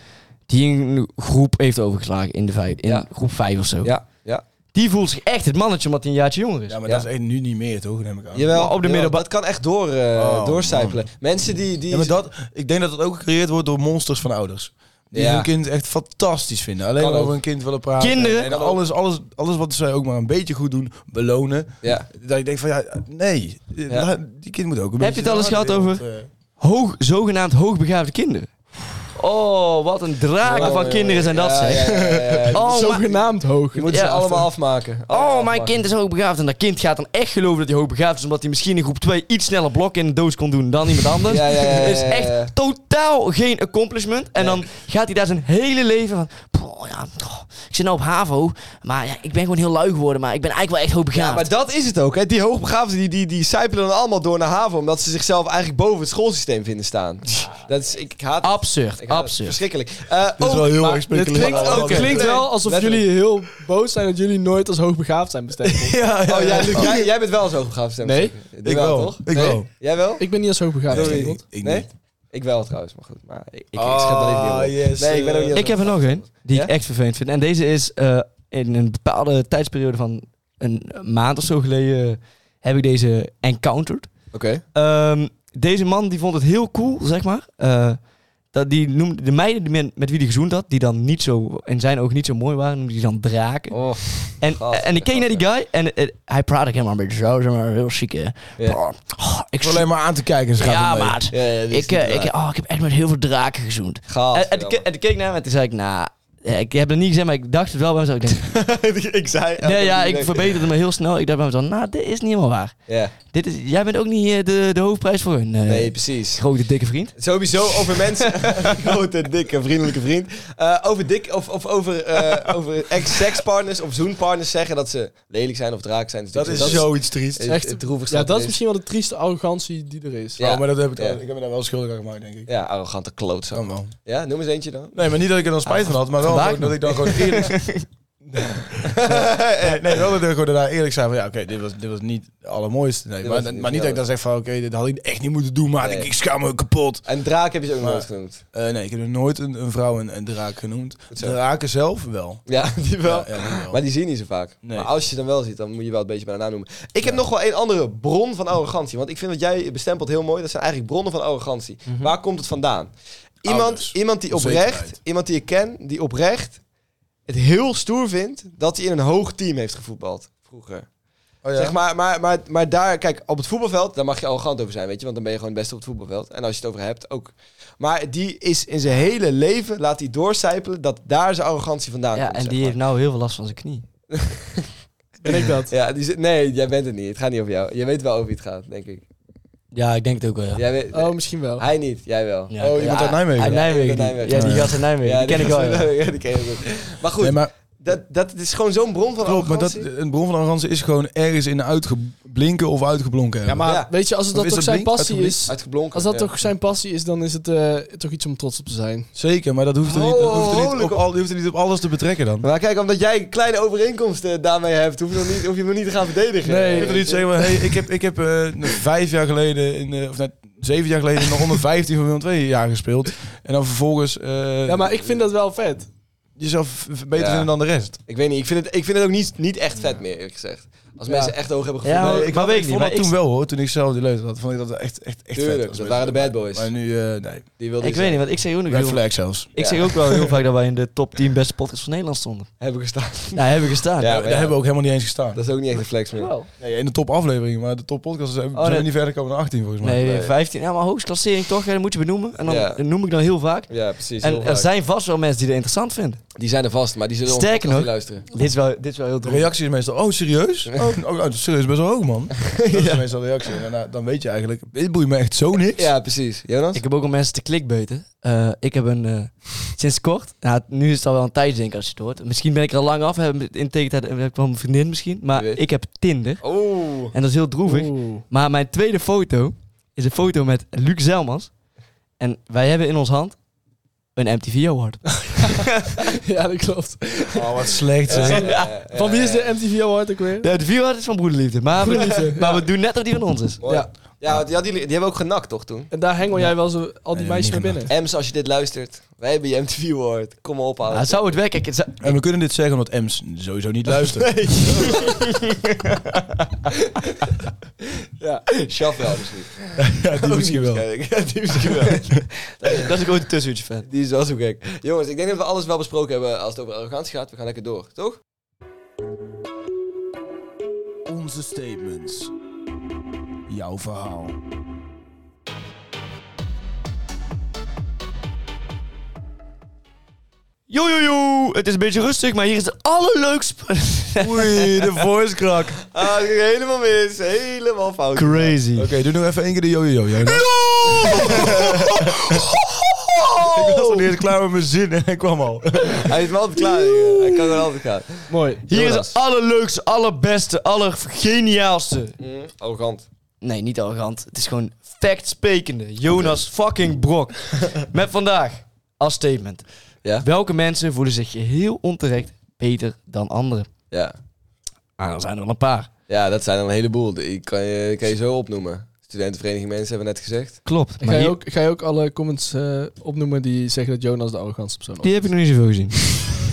F: die een groep heeft overgeslagen in de vijf, in
C: Ja.
F: groep vijf of zo.
C: Ja, ja.
F: Die voelt zich echt het mannetje omdat hij een jaartje jonger is.
E: Ja, maar
C: Ja.
E: dat is echt nu niet meer, toch? Neem ik aan.
C: Jawel,
F: op de
C: jawel,
F: middelba-
C: Dat kan echt door, eh
E: Oh,
C: doorcijpelen. Mensen die... die
E: Ja, maar dat, ik denk dat het ook gecreëerd wordt door monsters van ouders. Die
C: Ja.
E: hun kind echt fantastisch vinden. Alleen
C: Kan
E: maar over
C: ook.
E: hun kind willen praten.
F: Kinderen-
E: En alles, alles, alles wat zij ook maar een beetje goed doen, belonen.
C: ja.
E: Dat ik denk van, ja, nee. laat- Die kind moet ook een
F: Heb je
E: beetje...
F: het al eens
E: zijn
F: gehad
E: aarde
F: over-
E: wereld, eh.
F: Hoog, zogenaamd hoogbegaafde kinderen. Oh, wat een draken
C: Oh,
F: van
C: ja,
F: kinderen zijn dat,
C: ja,
F: zeg.
C: ja, ja, ja, ja.
F: Oh, maar-
D: Zogenaamd hoog.
C: Je moet ze
F: Ja,
C: allemaal afmaken.
F: Oh, mijn
C: afmaken.
F: kind is hoogbegaafd. En dat kind gaat dan echt geloven dat hij hoogbegaafd is. Omdat hij misschien in groep 2 iets sneller blok in de doos kon doen dan iemand anders.
C: Ja, ja, ja, ja,
F: Het is
C: ja, ja.
F: echt totaal geen accomplishment. En dan gaat hij daar zijn hele leven van... "Poh, ja, oh, ik zit nou op HAVO, maar ja, ik ben gewoon heel lui geworden. Maar ik ben eigenlijk wel echt hoogbegaafd.
C: Ja, maar dat is het ook. Hè. Die hoogbegaafden die, die, die sijpelen dan allemaal door naar haven... omdat ze zichzelf eigenlijk boven het schoolsysteem vinden staan. Dat is... Ik haat het.
F: Absurd,
C: Ik haat het.
F: absurd.
C: Verschrikkelijk. Eh,
E: Dit is
C: oh,
E: wel heel
C: maar-
E: erg Oh,
D: Dit
E: speculeren.
D: klinkt, het
C: Oké.
D: klinkt wel alsof
C: Letterlijk.
D: jullie heel boos zijn dat jullie nooit als hoogbegaafd zijn bestempeld.
E: Ja, ja,
C: Oh,
E: ja.
C: jij, Luc, jij, jij bent wel eens hoogbegaafd. Sam.
D: Nee.
E: Ik wel.
C: toch?
E: Ik
C: Nee?
E: wel.
C: Jij wel?
D: Ik ben niet als hoogbegaafd
C: Sorry.
D: bestempeld.
E: Ik
C: nee?
E: niet.
C: Ik Oh, wel trouwens, maar goed. Maar ik, ik,
E: Ah,
C: ik schep alleen niet op.
E: yes, eh.
C: nee, ik ben ook niet
F: Ik heb er nog een, die
C: Ja?
F: ik echt vervelend vind. En deze is eh, in een bepaalde tijdsperiode van een maand of zo geleden... eh, heb ik deze encountered.
C: Oké.
F: Ehm, deze man die vond het heel cool, zeg maar. Eh, dat die noemde de meiden die men- met wie hij gezoend had, die dan niet zo, in zijn oog niet zo mooi waren, noemde hij dan draken.
C: Oh,
F: en,
C: gast,
F: en ik keek naar die guy en eh, hij praatte helemaal een beetje zo, zeg maar, heel chic. hè.
C: Ja.
F: Oh, ik
E: Ik wil alleen maar aan te kijken. Ze gaat
F: ja,
E: ermee.
F: maat.
C: Ja, ja, die is
F: ik, eh,
C: niet Oh,
F: ik, Eh, oh, ik heb echt met heel veel draken gezoend.
C: Gaaf.
F: en, en, ik- en ik keek naar hem en toen zei ik, nou, eh, ik heb het niet gezegd, maar ik dacht het wel bij mezelf. Ik denk,
C: ik zei...
F: nee, ja, ik verbeterde me heel snel. Ik dacht bij mezelf, nou, dit is niet helemaal waar.
C: Ja.
F: Dit is, jij bent ook niet eh, de, de hoofdprijs voor hun eh,
C: Nee, precies.
F: grote dikke vriend.
C: Sowieso over mensen. Grote, dikke, vriendelijke vriend. Eh, over dik of, of over, eh, over ex-sekspartners of zoenpartners zeggen dat ze lelijk zijn of draak zijn. Dus
E: Dat is zoiets triest.
C: het- het droevigste
D: ja,
C: wat
D: dat
C: er
D: is misschien wel de trieste arrogantie die er is.
C: Ja.
E: Oh, maar dat heb ik,
C: Ja.
E: ik heb me daar wel schuldig aan gemaakt, denk ik.
C: Ja, arrogante klootzak.
E: Dan wel.
C: Ja, noem eens eentje dan.
E: Nee, maar niet dat ik er dan spijt van had, maar wel
F: Ah, vandaag
E: gewoon dat ik dan gewoon eerlijk... nee, nee, wel dat ik gewoon daarna eerlijk zei van ja, oké, dit, was, dit was niet het allermooiste. Nee,
C: Dit
E: maar
C: was niet
E: maar niet dat ik dan zeg van oké, dit had ik echt niet moeten doen, maar
C: Nee.
E: ik, ik schaam me kapot.
C: En draak heb je ze ook nog
E: Maar-
C: nooit genoemd.
E: Eh, nee, ik heb nog nooit een, een vrouw een, een draak genoemd.
C: zo.
E: Draken zelf wel.
C: Ja, die wel.
E: Ja, ja, die wel.
C: Maar die zie je niet zo vaak.
E: Nee.
C: Maar als je dan wel ziet, dan moet je wel een beetje bij de naam noemen. Ik heb nog wel een andere bron van arrogantie. Want ik vind wat jij bestempelt heel mooi. Dat zijn eigenlijk bronnen van arrogantie. Waar komt het vandaan? Iemand,
E: Mhm. Ouders.
C: iemand die
E: Onzekerheid.
C: oprecht, iemand die ik ken, die oprecht het heel stoer vindt dat hij in een hoog team heeft gevoetbald. Vroeger.
E: Oh, ja.
C: Zeg maar, maar, maar, maar daar, kijk, op het voetbalveld, daar mag je arrogant over zijn, weet je. Want dan ben je gewoon het beste op het voetbalveld. En als je het over hebt, ook. Maar die is in zijn hele leven, laat hij doorcijpelen dat daar zijn arrogantie vandaan
F: Ja,
C: komt.
F: en
C: zeg
F: die
C: maar.
F: heeft nou heel veel last van zijn knie.
D: Ben ik dat?
C: Ja, die zit- nee, jij bent het niet. Het gaat niet over jou. Je weet wel over wie het gaat, denk ik.
F: Ja, ik denk het ook wel, ja.
C: Jij weet, eh,
D: Oh, misschien wel.
C: Hij niet, jij wel.
F: Ja,
E: Oh,
F: ik-
E: iemand uit Nijmegen.
F: Uit Nijmegen.
C: Ja,
F: die-
C: Nijmegen.
F: Ja, die
E: Ja.
F: gast uit Nijmegen.
C: Ja,
F: die ken ik wel,
C: was-
F: ja.
C: ja, die ken ik goed. Maar goed,
E: Nee, maar
C: dat, dat is gewoon zo'n bron van
E: klopt, maar dat,
C: arrogantie.
E: een bron van arrogantie is gewoon ergens in uitgeblinken of uitgeblonken
D: Ja,
E: hebben.
D: maar
C: Ja.
D: weet je, als het
E: Of
D: dat
E: is
D: toch
E: dat
D: zijn
E: blink?
D: passie
E: Uitgeblink?
D: is...
C: Uitgeblonken.
D: Als dat
C: ja.
D: toch zijn passie is, dan is het eh, toch iets om trots op te zijn.
E: Zeker, maar dat hoeft er niet, dat hoeft er niet,
C: Oh, Holy
E: op, al, die hoeft er niet op alles te betrekken dan.
C: Maar kijk, omdat jij kleine overeenkomsten daarmee hebt, hoef je, nog niet, hoef je me niet te gaan verdedigen.
D: Nee.
E: Ik
D: Je
E: wil niet zeggen, maar, hey, ik heb, ik heb eh, vijf jaar geleden, in, eh, of net zeven jaar geleden, in de onder 15 van Willem 2 jaar gespeeld. En dan vervolgens eh,
D: Ja, maar ik vind dat wel vet.
E: jezelf v- beter
C: Ja.
E: vinden dan de rest.
C: Ik weet niet, ik vind het, ik vind het ook niet, niet echt vet meer, eerlijk gezegd. Als
D: Ja.
C: mensen echt hoog hebben
F: Ja,
C: gevoeld.
F: maar ik-
E: had-
F: weet niet,
E: vond
F: maar
E: dat toen
F: ik-
E: wel hoor, toen ik zelf die leeftijd had, vond ik dat echt, echt, echt vet.
C: Tuurlijk,
E: was.
C: dat waren de bad boys.
E: Maar nu, eh, nee.
C: Die wilden
F: Ik weet niet, want ik zeg ook nog
E: Red
F: heel,
E: flag zelfs.
F: ik
C: Ja.
F: zeg ook wel heel vaak dat wij in de top 10 beste podcast van Nederland stonden.
C: Hebben gestaan.
F: Nou, hebben we gestaan.
C: Ja,
E: Ja,
C: maar
E: daar
C: ja.
E: hebben we ook helemaal niet eens gestaan.
C: Dat is ook niet echt een flex meer.
E: Nee, in de top afleveringen, maar de top podcast zijn zijn
F: nee.
E: we niet verder komen dan 18 volgens mij.
F: Nee,
C: Oh, Nee.
F: 15. Ja, maar eh, hoogstklassering toch, hè, dat moet je benoemen. En dan
C: Ja.
F: dat noem ik dan heel vaak.
C: Ja, precies. heel
F: En eh, er
C: vaak.
F: zijn vast wel mensen die dat interessant vinden.
C: Die zijn er vast, maar die zullen ons
F: Sterker
C: podcast niet
F: nog-
C: luisteren.
F: Dit is wel, dit is wel heel
E: De
F: druk.
E: reactie is meestal, oh serieus? Oh, oh, oh, dat is serieus best wel hoog man. Dat is meestal de reactie. En daarna- dan weet je eigenlijk, dit boeit me echt zo niks.
C: Ja, precies. Jonas?
F: Ik heb ook al mensen te clickbaiten. Eh, ik heb een, eh, sinds kort, nou, nu is het al wel een tijdje denk ik als je het hoort. Misschien ben ik er al lang af, heb, in tegentijd heb ik wel een vriendin misschien. Maar
C: Wie weet.
F: ik heb Tinder.
C: Oh.
F: En dat is heel droevig.
D: Oeh.
F: Maar mijn tweede foto is een foto met Luc Zelmans. En wij hebben in ons hand een MTV Award.
D: ja, dat klopt.
E: Oh, wat slecht zeg.
D: Van wie is de MTV Award ook weer?
F: De MTV Award is van Broederliefde. Maar, we,
D: Broederliefde,
F: maar we doen net dat die van ons is.
C: Mooi.
D: Ja.
C: Ja, want die, had jullie- die hebben ook genakt, toch, toen?
D: En daar hengel jij wel zo al die
E: Nee,
D: meisjes
E: niet
D: naar binnen.
C: Ems, als je dit luistert, wij hebben je MTV Award. Kom maar ophalen.
F: Nou, zou het werken? Kijk, het zou-
E: En we kunnen dit zeggen omdat Ems sowieso niet luistert.
C: Ja, Shaf wel misschien.
E: ja, die misschien wel.
C: Waarschijnlijk. die misschien wel.
F: Dat is ook een tussenuurtje fan.
C: Die is wel zo gek. Jongens, ik denk dat we alles wel besproken hebben als het over arrogantie gaat. We gaan lekker door, toch?
E: Onze statements. Jouw verhaal.
F: Yo, yo, yo. Het is een beetje rustig, maar hier is het allerleukste...
E: Oei, de voice crack.
C: Ah, dat ging helemaal mis. Helemaal fout.
F: Crazy.
E: Oké, doe nog even één keer de yo-yo-yo. Jonas. Ik was al eerst klaar met mijn zin en hij kwam al.
C: Hij is wel altijd klaar. jongen. Hij kan er altijd gaan.
D: Mooi.
F: Hier is
C: Jonas.
F: het allerleukste, allerbeste, allergeniaalste.
C: Mm, Arrogant.
F: Nee, niet arrogant. Het is gewoon factsprekende. Jonas fucking Brok. Met vandaag als statement.
C: Ja?
F: Welke mensen voelen zich geheel onterecht beter dan anderen?
C: Ja.
F: Ah, er zijn er wel een paar.
C: Ja, dat zijn er een heleboel. Ik kan je, ik kan je zo opnoemen. Studentenvereniging Mensen hebben we net gezegd.
F: Klopt.
D: Ga
F: Maar
D: je,
F: die,
D: ook, ga je ook alle comments eh, opnoemen die zeggen dat Jonas de arrogantste persoon is?
F: die heb ik nog niet zoveel gezien.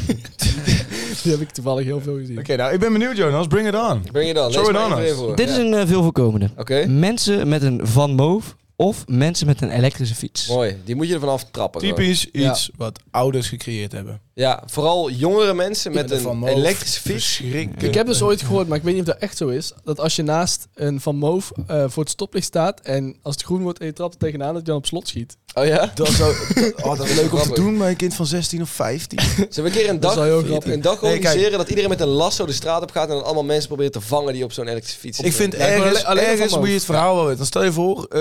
D: Die heb ik toevallig heel veel gezien.
E: Oké, nou, ik ben benieuwd, Jonas. Bring it on.
C: Breng je dan.
E: Zo
C: Lees
E: dan
C: maar
E: eens.
C: even voor.
F: Dit is
C: Ja.
F: een eh, veel voorkomende.
C: Oké,
F: Mensen met een Van Moof of mensen met een elektrische fiets.
C: mooi. Die moet je er vanaf trappen. gewoon.
E: Typisch
D: Ja.
E: iets wat ouders gecreëerd hebben.
C: Ja, vooral jongere mensen met
E: ben
C: een
E: van Moof.
C: elektrische fiets.
E: Verschrikkelijk.
D: Ik heb dus ooit gehoord, maar ik weet niet of dat echt zo is, dat als je naast een Van Moof eh, voor het stoplicht staat en als het groen wordt en je trapt er tegenaan, dat je dan op slot schiet.
C: Oh ja?
E: Dat zou, oh, dat is leuk om te
C: Grappig.
E: doen bij een kind van 16 of 15.
C: Zullen we een keer een
D: Dat
C: dag,
D: is wel heel grappig.
C: een dag
E: Nee, kijk.
C: organiseren dat iedereen met een lasso de straat op gaat en dan allemaal mensen proberen te vangen die op zo'n elektrische fiets
E: Ik vind
D: ik wil
E: ergens,
D: alleen- alleen maar
E: ergens
D: van
E: moet je
D: boven.
E: het verhaal wel weten. Dan stel je voor, eh,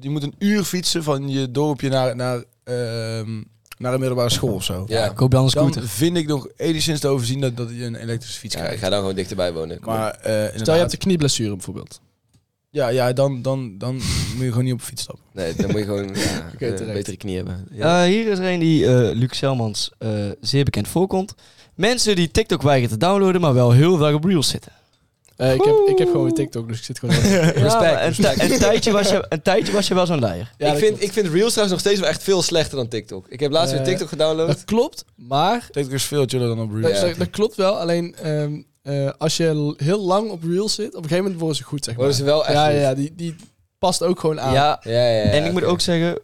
E: je moet een uur fietsen van je dorpje naar, naar, ehm, naar een middelbare school of zo.
C: Ja,
F: Ik hoop dan een
E: Dan
F: scooter.
E: vind ik nog enigszins te overzien dat, dat je een elektrische fiets
C: ja, ik
E: krijgt.
C: ga dan gewoon dichterbij wonen. Kom op.
E: Maar eh,
D: Stel,
E: inderdaad,
D: je hebt een knieblessure bijvoorbeeld.
E: ja, ja, dan, dan, dan moet je gewoon niet op de fiets stappen.
C: Nee, dan moet je gewoon ja,
D: Oké,
C: een
D: terecht.
C: betere knie hebben. Ja.
F: Eh, hier is er een die eh, Luc Selmans eh, zeer bekend voorkomt. Mensen die TikTok weigeren te downloaden, maar wel heel veel op Reels zitten.
D: Eh, ik, heb, ik heb gewoon weer TikTok, dus ik zit gewoon... ja,
F: Ja, maar een, ti- een tijdje was je, een tijdje was je wel zo'n leier.
D: dat
C: ik, vind,
D: klopt.
C: ik vind Reels trouwens nog steeds wel echt veel slechter dan TikTok. Ik heb laatst weer
D: Eh,
C: TikTok gedownload.
D: Dat klopt, maar
E: TikTok is dus veel chiller dan op Reels.
D: dat, dat, dat klopt wel, alleen ehm, eh, als je l- heel lang op Reels zit, op een gegeven moment worden ze goed, zeg maar.
C: Worden ze wel echt
D: ja,
C: goed.
D: ja, die, die past ook gewoon aan.
F: Ah. Ja,
C: Ja, ja, ja,
F: en ik
C: oké.
F: moet ook zeggen,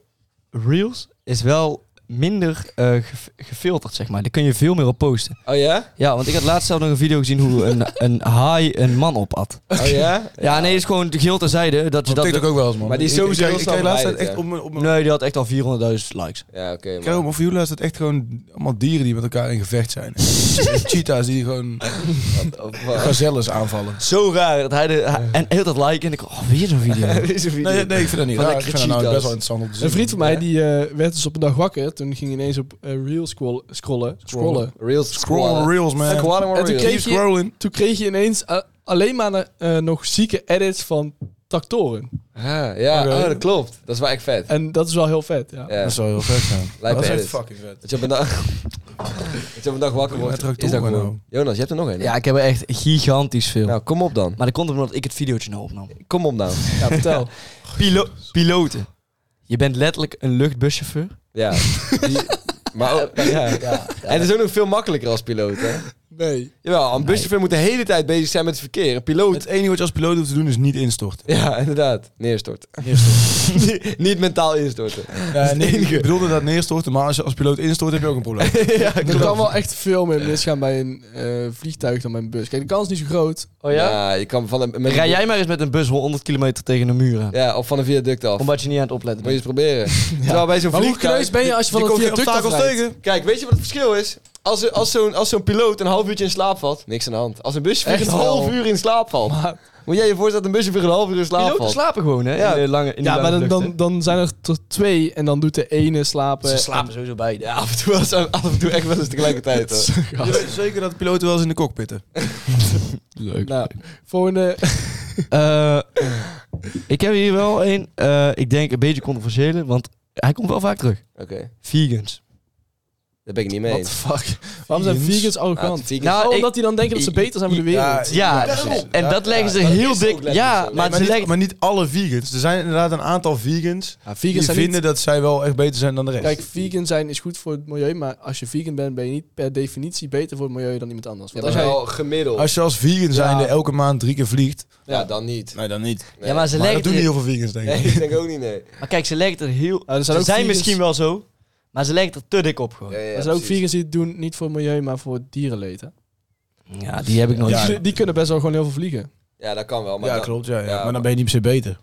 F: Reels is wel minder eh, gef- gefilterd, zeg maar. Daar kun je veel meer op posten.
C: Oh ja?
F: Ja, want ik had laatst zelf nog een video gezien hoe een, een haai een man opat.
C: Oh ja?
F: Ja, nee, is gewoon geheel terzijde dat je
E: Op
F: dat...
E: TikTok ook wel eens, man.
C: Maar die is
E: Ik- ik
C: sowieso
E: krijg-
C: heel
E: Ik krijg
C: snel
E: laatst tijd
C: verwijderd, ja.
E: echt op mijn... Op mijn
F: Nee, die had echt al 400.000 likes.
C: Ja, oké.
E: Ik
C: man.
E: krijg op mijn view laatst echt gewoon allemaal dieren die met elkaar in gevecht zijn. Dus Cheetahs die gewoon
C: Of, eh,
E: gazelles aanvallen.
F: Zo raar dat hij de... hij- en heel dat like en ik... Oh, weer zo'n video.
C: Deze video.
E: Nee, nee, ik vind dat niet
C: Van
E: raar. Ik
C: lekkere
E: vind dat nou
C: cheetahs.
E: best wel interessant om te zien.
D: Een vriend van mij die eh, werd dus op een dag wakker. Toen ging hij ineens op eh, Reels scroll- scrollen. scrollen.
C: Reels
E: Scroll
C: scrollen.
E: reels, man.
C: Scrollen maar
D: En toen
C: reels.
D: kreeg-
E: Keep scrolling.
D: Toen kreeg je ineens eh, alleen maar eh, nog zieke edits van tractoren.
C: Ah, ja,
E: Oké.
C: oh, dat klopt. Dat is wel echt vet.
D: En dat is wel heel vet, ja.
C: Ja.
E: Dat zou heel vet zijn.
C: Lijpe
E: dat is echt
C: edit.
E: fucking vet.
C: Dat je op een dag, dat je op een dag wakker wordt.
E: Met tractoren
C: Is dat
E: nou.
C: gewoon. Jonas, je hebt er nog een. hè?
F: Ja, ik heb er echt gigantisch veel.
C: Nou, kom op dan.
F: Maar dat komt omdat ik het videootje nou opnam.
C: Kom op nou.
D: Ja, vertel.
F: Pilo piloten. Je bent letterlijk een luchtbuschauffeur.
C: Ja. Die- maar ook- ja. En het is ook nog veel makkelijker als piloot, hè?
D: Nee.
C: Jawel, een buschauffeur moet de hele tijd bezig zijn met het verkeer. Een piloot...
E: Het enige wat je als piloot hoeft te doen is niet instorten.
C: Ja, inderdaad. Neerstorten. Niet- Niet mentaal instorten.
E: Ja, nee, ik bedoelde dat neerstorten, maar als je als piloot instort heb je ook een probleem.
C: ja,
D: Er kan wel echt veel meer misgaan bij een eh, vliegtuig dan bij een bus. Kijk, de kans is niet zo groot.
F: Oh
C: je kan van een... met-
F: Rij jij maar eens met een bus 100 kilometer tegen een muur aan.
C: Ja, of van een viaduct af.
F: Omdat je niet aan het opletten
C: Moet je
F: bent.
C: eens proberen. Terwijl bij zo'n
D: Maar hoe
C: vliegtuig-
D: kneus ben je als je van
C: die
D: een
C: komt geen
D: viaduct
C: obstakels
D: afrijdt?
C: tegen? Kijk, weet je wat het verschil is? Als, er- als zo'n als zo'n piloot een half uurtje in slaap valt, niks aan de hand. Als een buschauffeur
D: Echt
C: een half
D: wel.
C: uur in slaap valt.
D: Maar,
C: Moet jij je voorstellen dat een buschauffeur een half uur in slaap
F: Piloten
C: valt?
F: slapen gewoon, hè?
C: Ja.
F: In de lange, in die
D: ja, maar
F: lange
D: dan, dan,
F: vluchten.
D: dan zijn er tot twee en dan doet de ene
C: eh,
D: slapen.
F: Ze
C: ah.
F: slapen sowieso bij.
C: Ja, af en toe, wel eens- af en toe echt wel eens tegelijkertijd. hoor.
E: Je weet zeker dat piloten wel eens in de cockpitten.
D: Leuk. Nou, volgende.
F: Eh, ik heb hier wel een, eh, ik denk een beetje controversiële, want hij komt wel vaak terug.
C: Oké.
F: Vegans.
C: Daar ben ik niet mee
D: What the
C: eens.
D: fuck? Waarom zijn
E: Vegans?
D: vegans arrogant?
C: Ja, vegans-
F: Nou,
D: oh,
F: ik-
D: omdat die dan denken dat ze beter zijn voor de wereld.
F: Ja,
E: daarom.
F: en- en dat leggen ze
C: ja, dat
F: heel
C: is ook
F: dik.
C: letterlijk
F: Ja,
C: zo. Nee,
F: maar,
E: maar,
F: ze
E: niet,
F: leggen...
E: maar niet alle vegans. Er zijn inderdaad een aantal vegans,
D: Ja,
E: die
D: vegans zijn
E: vinden
D: niet...
E: dat zij wel echt beter zijn dan de rest.
D: Kijk, vegan zijn is goed voor het milieu, maar als je vegan bent, ben je niet per definitie beter voor het milieu dan iemand anders.
C: Ja,
D: Want
C: maar
D: als jij,
C: wel gemiddeld.
E: als je als vegan zijnde elke maand drie keer vliegt,
C: Ja, dan niet.
E: nee, dan niet.
C: Nee.
F: ja, maar ze
E: Maar
F: leggen
E: dat doen
F: het
E: niet
F: er-
E: heel veel vegans, denk ik.
C: Nee, ik denk ook niet, nee.
F: Maar kijk, ze leggen het er heel...
D: Ja, er zijn
F: Ze
D: ook
F: zijn
D: vegans-
F: misschien wel zo, maar ze leggen het er te dik op
C: Ja,
F: gewoon.
C: ja,
D: er zijn ook
C: precies.
D: vegans die het doen niet voor het milieu, maar voor dierenleed. hè.
F: Ja, die heb ik nog
E: Ja.
F: niet.
D: Die, die kunnen best wel gewoon heel veel vliegen.
C: Ja, dat kan wel. Maar
E: ja,
C: dan-
E: klopt. Ja, ja.
C: ja,
E: maar dan
C: maar-
E: ben je niet per se beter.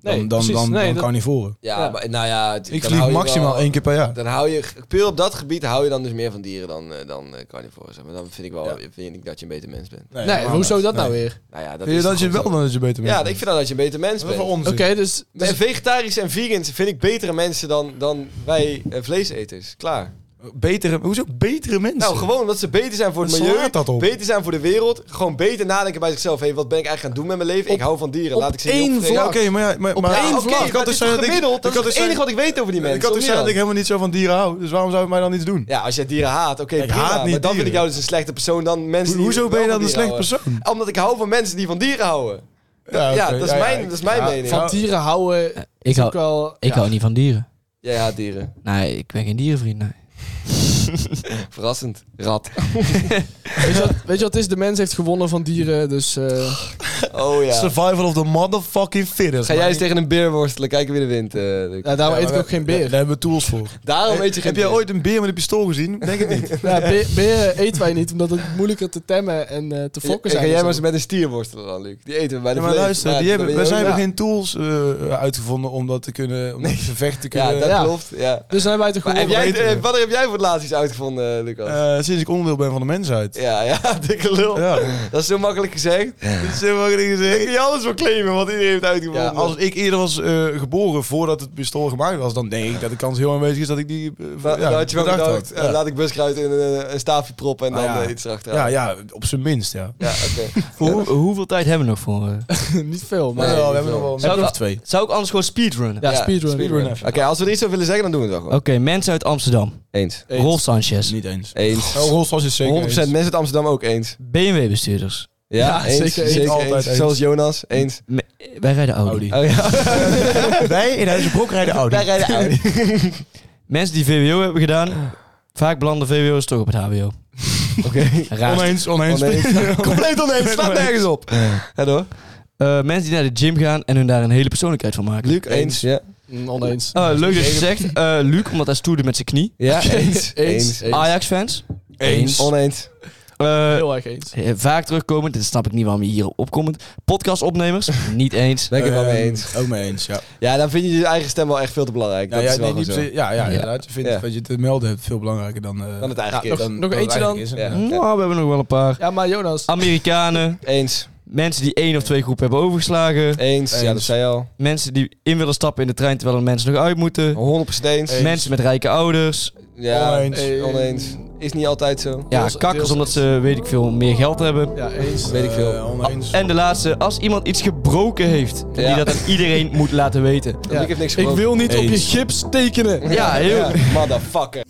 D: Nee,
E: dan dan,
D: precies.
E: dan,
D: Nee,
E: dan
D: dat-
E: carnivoren.
C: Ja,
D: Ja.
C: Maar, nou ja... het-
E: Ik
C: dan
E: vlieg
C: hou je
E: maximaal
C: wel-
E: één keer per jaar.
C: Dan hou je... Puur op dat gebied hou je dan dus meer van dieren dan, eh, dan eh carnivoren. zeg Maar dan vind ik wel... Vind ik dat je een beter mens bent.
D: Nee, hoezo dat nou weer?
C: Nou ja, dat
E: Vind je
C: is
E: dat je
C: toch
E: wel
C: gewoon
E: dan dat je beter
C: zo.
E: bent?
C: Ja, ik vind dan dat je een beter mens
E: dat is
C: bent.
E: wel
D: Oké,
E: onzin.
D: dus... dus-
C: En vegetarisch en vegans vind ik betere mensen dan, dan wij eh, vleeseters. Klaar.
E: Betere, hoezo betere mensen?
C: Nou, gewoon omdat ze beter zijn voor het
E: Wat
C: milieu.
E: slaat dat op?
C: Beter zijn voor de wereld. Gewoon beter nadenken bij zichzelf. Hé, wat ben ik eigenlijk aan het doen met mijn leven? ik hou van dieren.
D: op
C: Laat ik ze
D: één
C: niet opvreten.
E: Ja,
D: vlak.
E: oké, maar ja, maar, maar
C: Ja,
E: één
C: oké,
E: vlak.
C: maar
E: Ik had
C: het
E: dus
C: is
E: zijn
C: toch
E: dat ik-
C: gemiddeld?
E: ik
C: Dat
E: had
C: is
E: dus
C: het enige
E: zijn-
C: wat ik weet over die mensen.
E: Ik had
C: Of
E: dus
C: niet
E: zijn dat ik
C: dan?
E: helemaal niet zo van dieren hou. Dus waarom zou ik mij dan iets doen?
C: Ja, als jij dieren haat, oké,
E: Ik
C: prima.
E: haat
C: maar
E: niet
C: dan
E: dieren.
C: vind ik jou dus een slechte persoon dan mensen
E: Ho-
C: die
E: hoezo
C: wel
E: ben je
C: van
E: dan een
C: dieren
E: slecht
C: houden.
E: persoon?
C: Omdat ik hou van mensen die van dieren houden.
E: Ja,
C: ja,
E: oké,
C: dat is mijn- dat is mijn mening.
D: Van
E: ja.
D: dieren houden
F: Ik
D: is ook
F: hou,
D: wel...
F: ik hou niet van dieren.
C: Jij haat dieren.
F: Nee, ik ben geen dierenvriend, nee.
C: Verrassend. Rat.
D: Weet je, wat, weet je wat het is? De mens heeft gewonnen van dieren, dus... eh,
C: Oh ja.
E: Survival of the motherfucking fittest.
C: Ga jij
E: man.
C: eens tegen een beer worstelen. Kijken wie er wint. eh, Luc.
D: ja, daarom
E: Ja,
D: eet ik
E: maar
D: ook geen
E: Daar,
D: beer.
E: daar hebben we tools voor.
C: Daarom weet je geen
E: Heb jij
C: beer.
E: ooit een beer met een pistool gezien? Denk het niet.
D: Ja, be- beren eten wij niet, omdat het moeilijker te temmen en eh, te
C: Ja,
D: fokken zijn.
C: Ga jij
D: en
C: maar eens
D: zo.
C: met een stier worstelen dan, Luc. Die eten we bij de
E: Ja, maar
C: vlees.
E: luister, die
C: dan
E: hebben,
C: ben je
E: wij
C: ook-
E: zijn
C: Ja.
E: geen tools eh, uitgevonden om dat te kunnen, om dat gevecht te
C: Ja,
E: kunnen.
C: dat
D: Ja.
C: klopt. Ja.
D: Dus dan hebben wij het
C: Maar
D: gewoon
C: heb jij,
E: weten we.
C: eh, wanneer heb jij voor het laatst iets uitgevonden, eh, Lucas?
E: Eh, sinds ik onderdeel ben van de mensheid.
C: ja, ja, dikke lul.
E: Ja.
C: Dat is zo makkelijk gezegd.
E: Dat is heel makkelijk gezegd.
C: Ik kan je alles voor claimen wat iedereen heeft uitgevonden.
E: Ja, als ik eerder was eh, geboren voordat het pistool gemaakt was, dan denk ik dat de kans heel aanwezig is dat ik die eh,
C: Da-
E: ja,
C: dan had je wel
E: bedacht
C: gedacht,
E: had.
C: eh,
E: Ja.
C: laat ik buskruid in eh, een, een staafje proppen en
E: Ah,
C: dan
E: ja.
C: eh, iets erachteraan.
E: Ja, ja, op zijn minst, ja.
C: Ja, oké.
F: Hoe- hoeveel tijd hebben we nog voor? eh?
D: niet veel, maar...
E: Maar
C: Nee,
E: wel,
C: niet
E: we hebben nog
C: veel.
E: wel
F: Zou
E: een
F: ik-
E: of twee.
F: Zou ik anders gewoon speedrunnen?
D: Ja, speedrun.
C: Oké, als we er iets over willen zeggen, dan doen we het wel
F: Oké,
C: gewoon.
F: mensen uit Amsterdam.
C: Eens.
D: Eens.
F: Rolf Sanchez.
E: Niet eens.
C: Eens.
E: Oh, Rolls was het
C: 100%
E: zeker eens.
C: mensen uit Amsterdam ook eens.
F: BMW-bestuurders.
C: Ja,
D: Ja,
C: eens,
D: zeker eens.
E: Altijd eens.
C: Zoals Jonas, eens.
F: Wij rijden Audi. Eh,
E: Audi.
C: Oh ja,
E: Wij in Huizenbroek rijden Audi.
C: wij rijden Audi.
F: Mensen die VWO hebben gedaan, vaak belanden VWO's toch op het HBO.
C: Oké.
F: Raar.
E: Oneens, oneens.
C: Oneens. Compleet oneens, slaat nergens op. Ga door.
F: Eh, mensen die naar de gym gaan en hun daar een hele persoonlijkheid van maken.
C: Luc, eens. Ja,
D: Mm, Oneens.
F: Oh, leuk dat je zegt. Eh, Luc, omdat hij stoerde met zijn knie.
C: ja eens.
D: Eens. Eens.
F: Ah, Ajax-fans.
C: Eens. Oneens.
F: Eh,
D: Heel erg eens.
F: eh, vaak terugkomend. Dit snap ik niet waarom je hier opkomt. Podcastopnemers. niet eens.
C: Ben ik het wel mee eens.
E: Ehm, Ook mee eens, ja.
C: Ja, dan vind je je eigen stem wel echt veel te belangrijk.
E: Nou,
C: Dat
E: ja,
C: is wel
E: nee,
C: gewoon
E: niet
C: zo.
E: per se- ja, ja,
F: Ja.
E: inderdaad. Je vindt
C: Ja.
E: wat je te melden hebt veel belangrijker dan... eh,
C: Dan het eigenlijk is.
E: dan-
D: nog
E: dan het
D: eentje dan?
E: eigenlijk is,
C: Ja.
E: inderdaad.
F: Nou, we hebben nog wel een paar.
D: Ja, maar Jonas...
F: Ah. Amerikanen.
C: Eens.
F: Mensen die één of twee groepen hebben overgeslagen.
C: Eens. Ja, dat
E: Eens.
C: zei je al.
F: Mensen die in willen stappen in de trein terwijl er mensen nog uit moeten.
C: 100% Oh, eens.
E: Eens.
F: Mensen met rijke ouders.
C: Ja,
E: Oneens.
C: eh, oneens. Is niet altijd zo.
F: Ja,
D: Deels-
F: kakkers
D: deels
F: omdat
D: eens.
F: ze, weet ik veel, meer geld hebben.
D: Ja, eens.
C: Weet ik veel. Ah,
E: Eh, oneens.
F: En de laatste, als iemand iets gebroken heeft, dat
C: Ja.
F: die dat aan iedereen moet laten weten.
C: Ja. Ik heb niks
D: Ik
C: gebroken.
D: wil niet op je
E: Eens.
D: gips tekenen.
F: Ja, heel.
C: Ja, Motherfucker.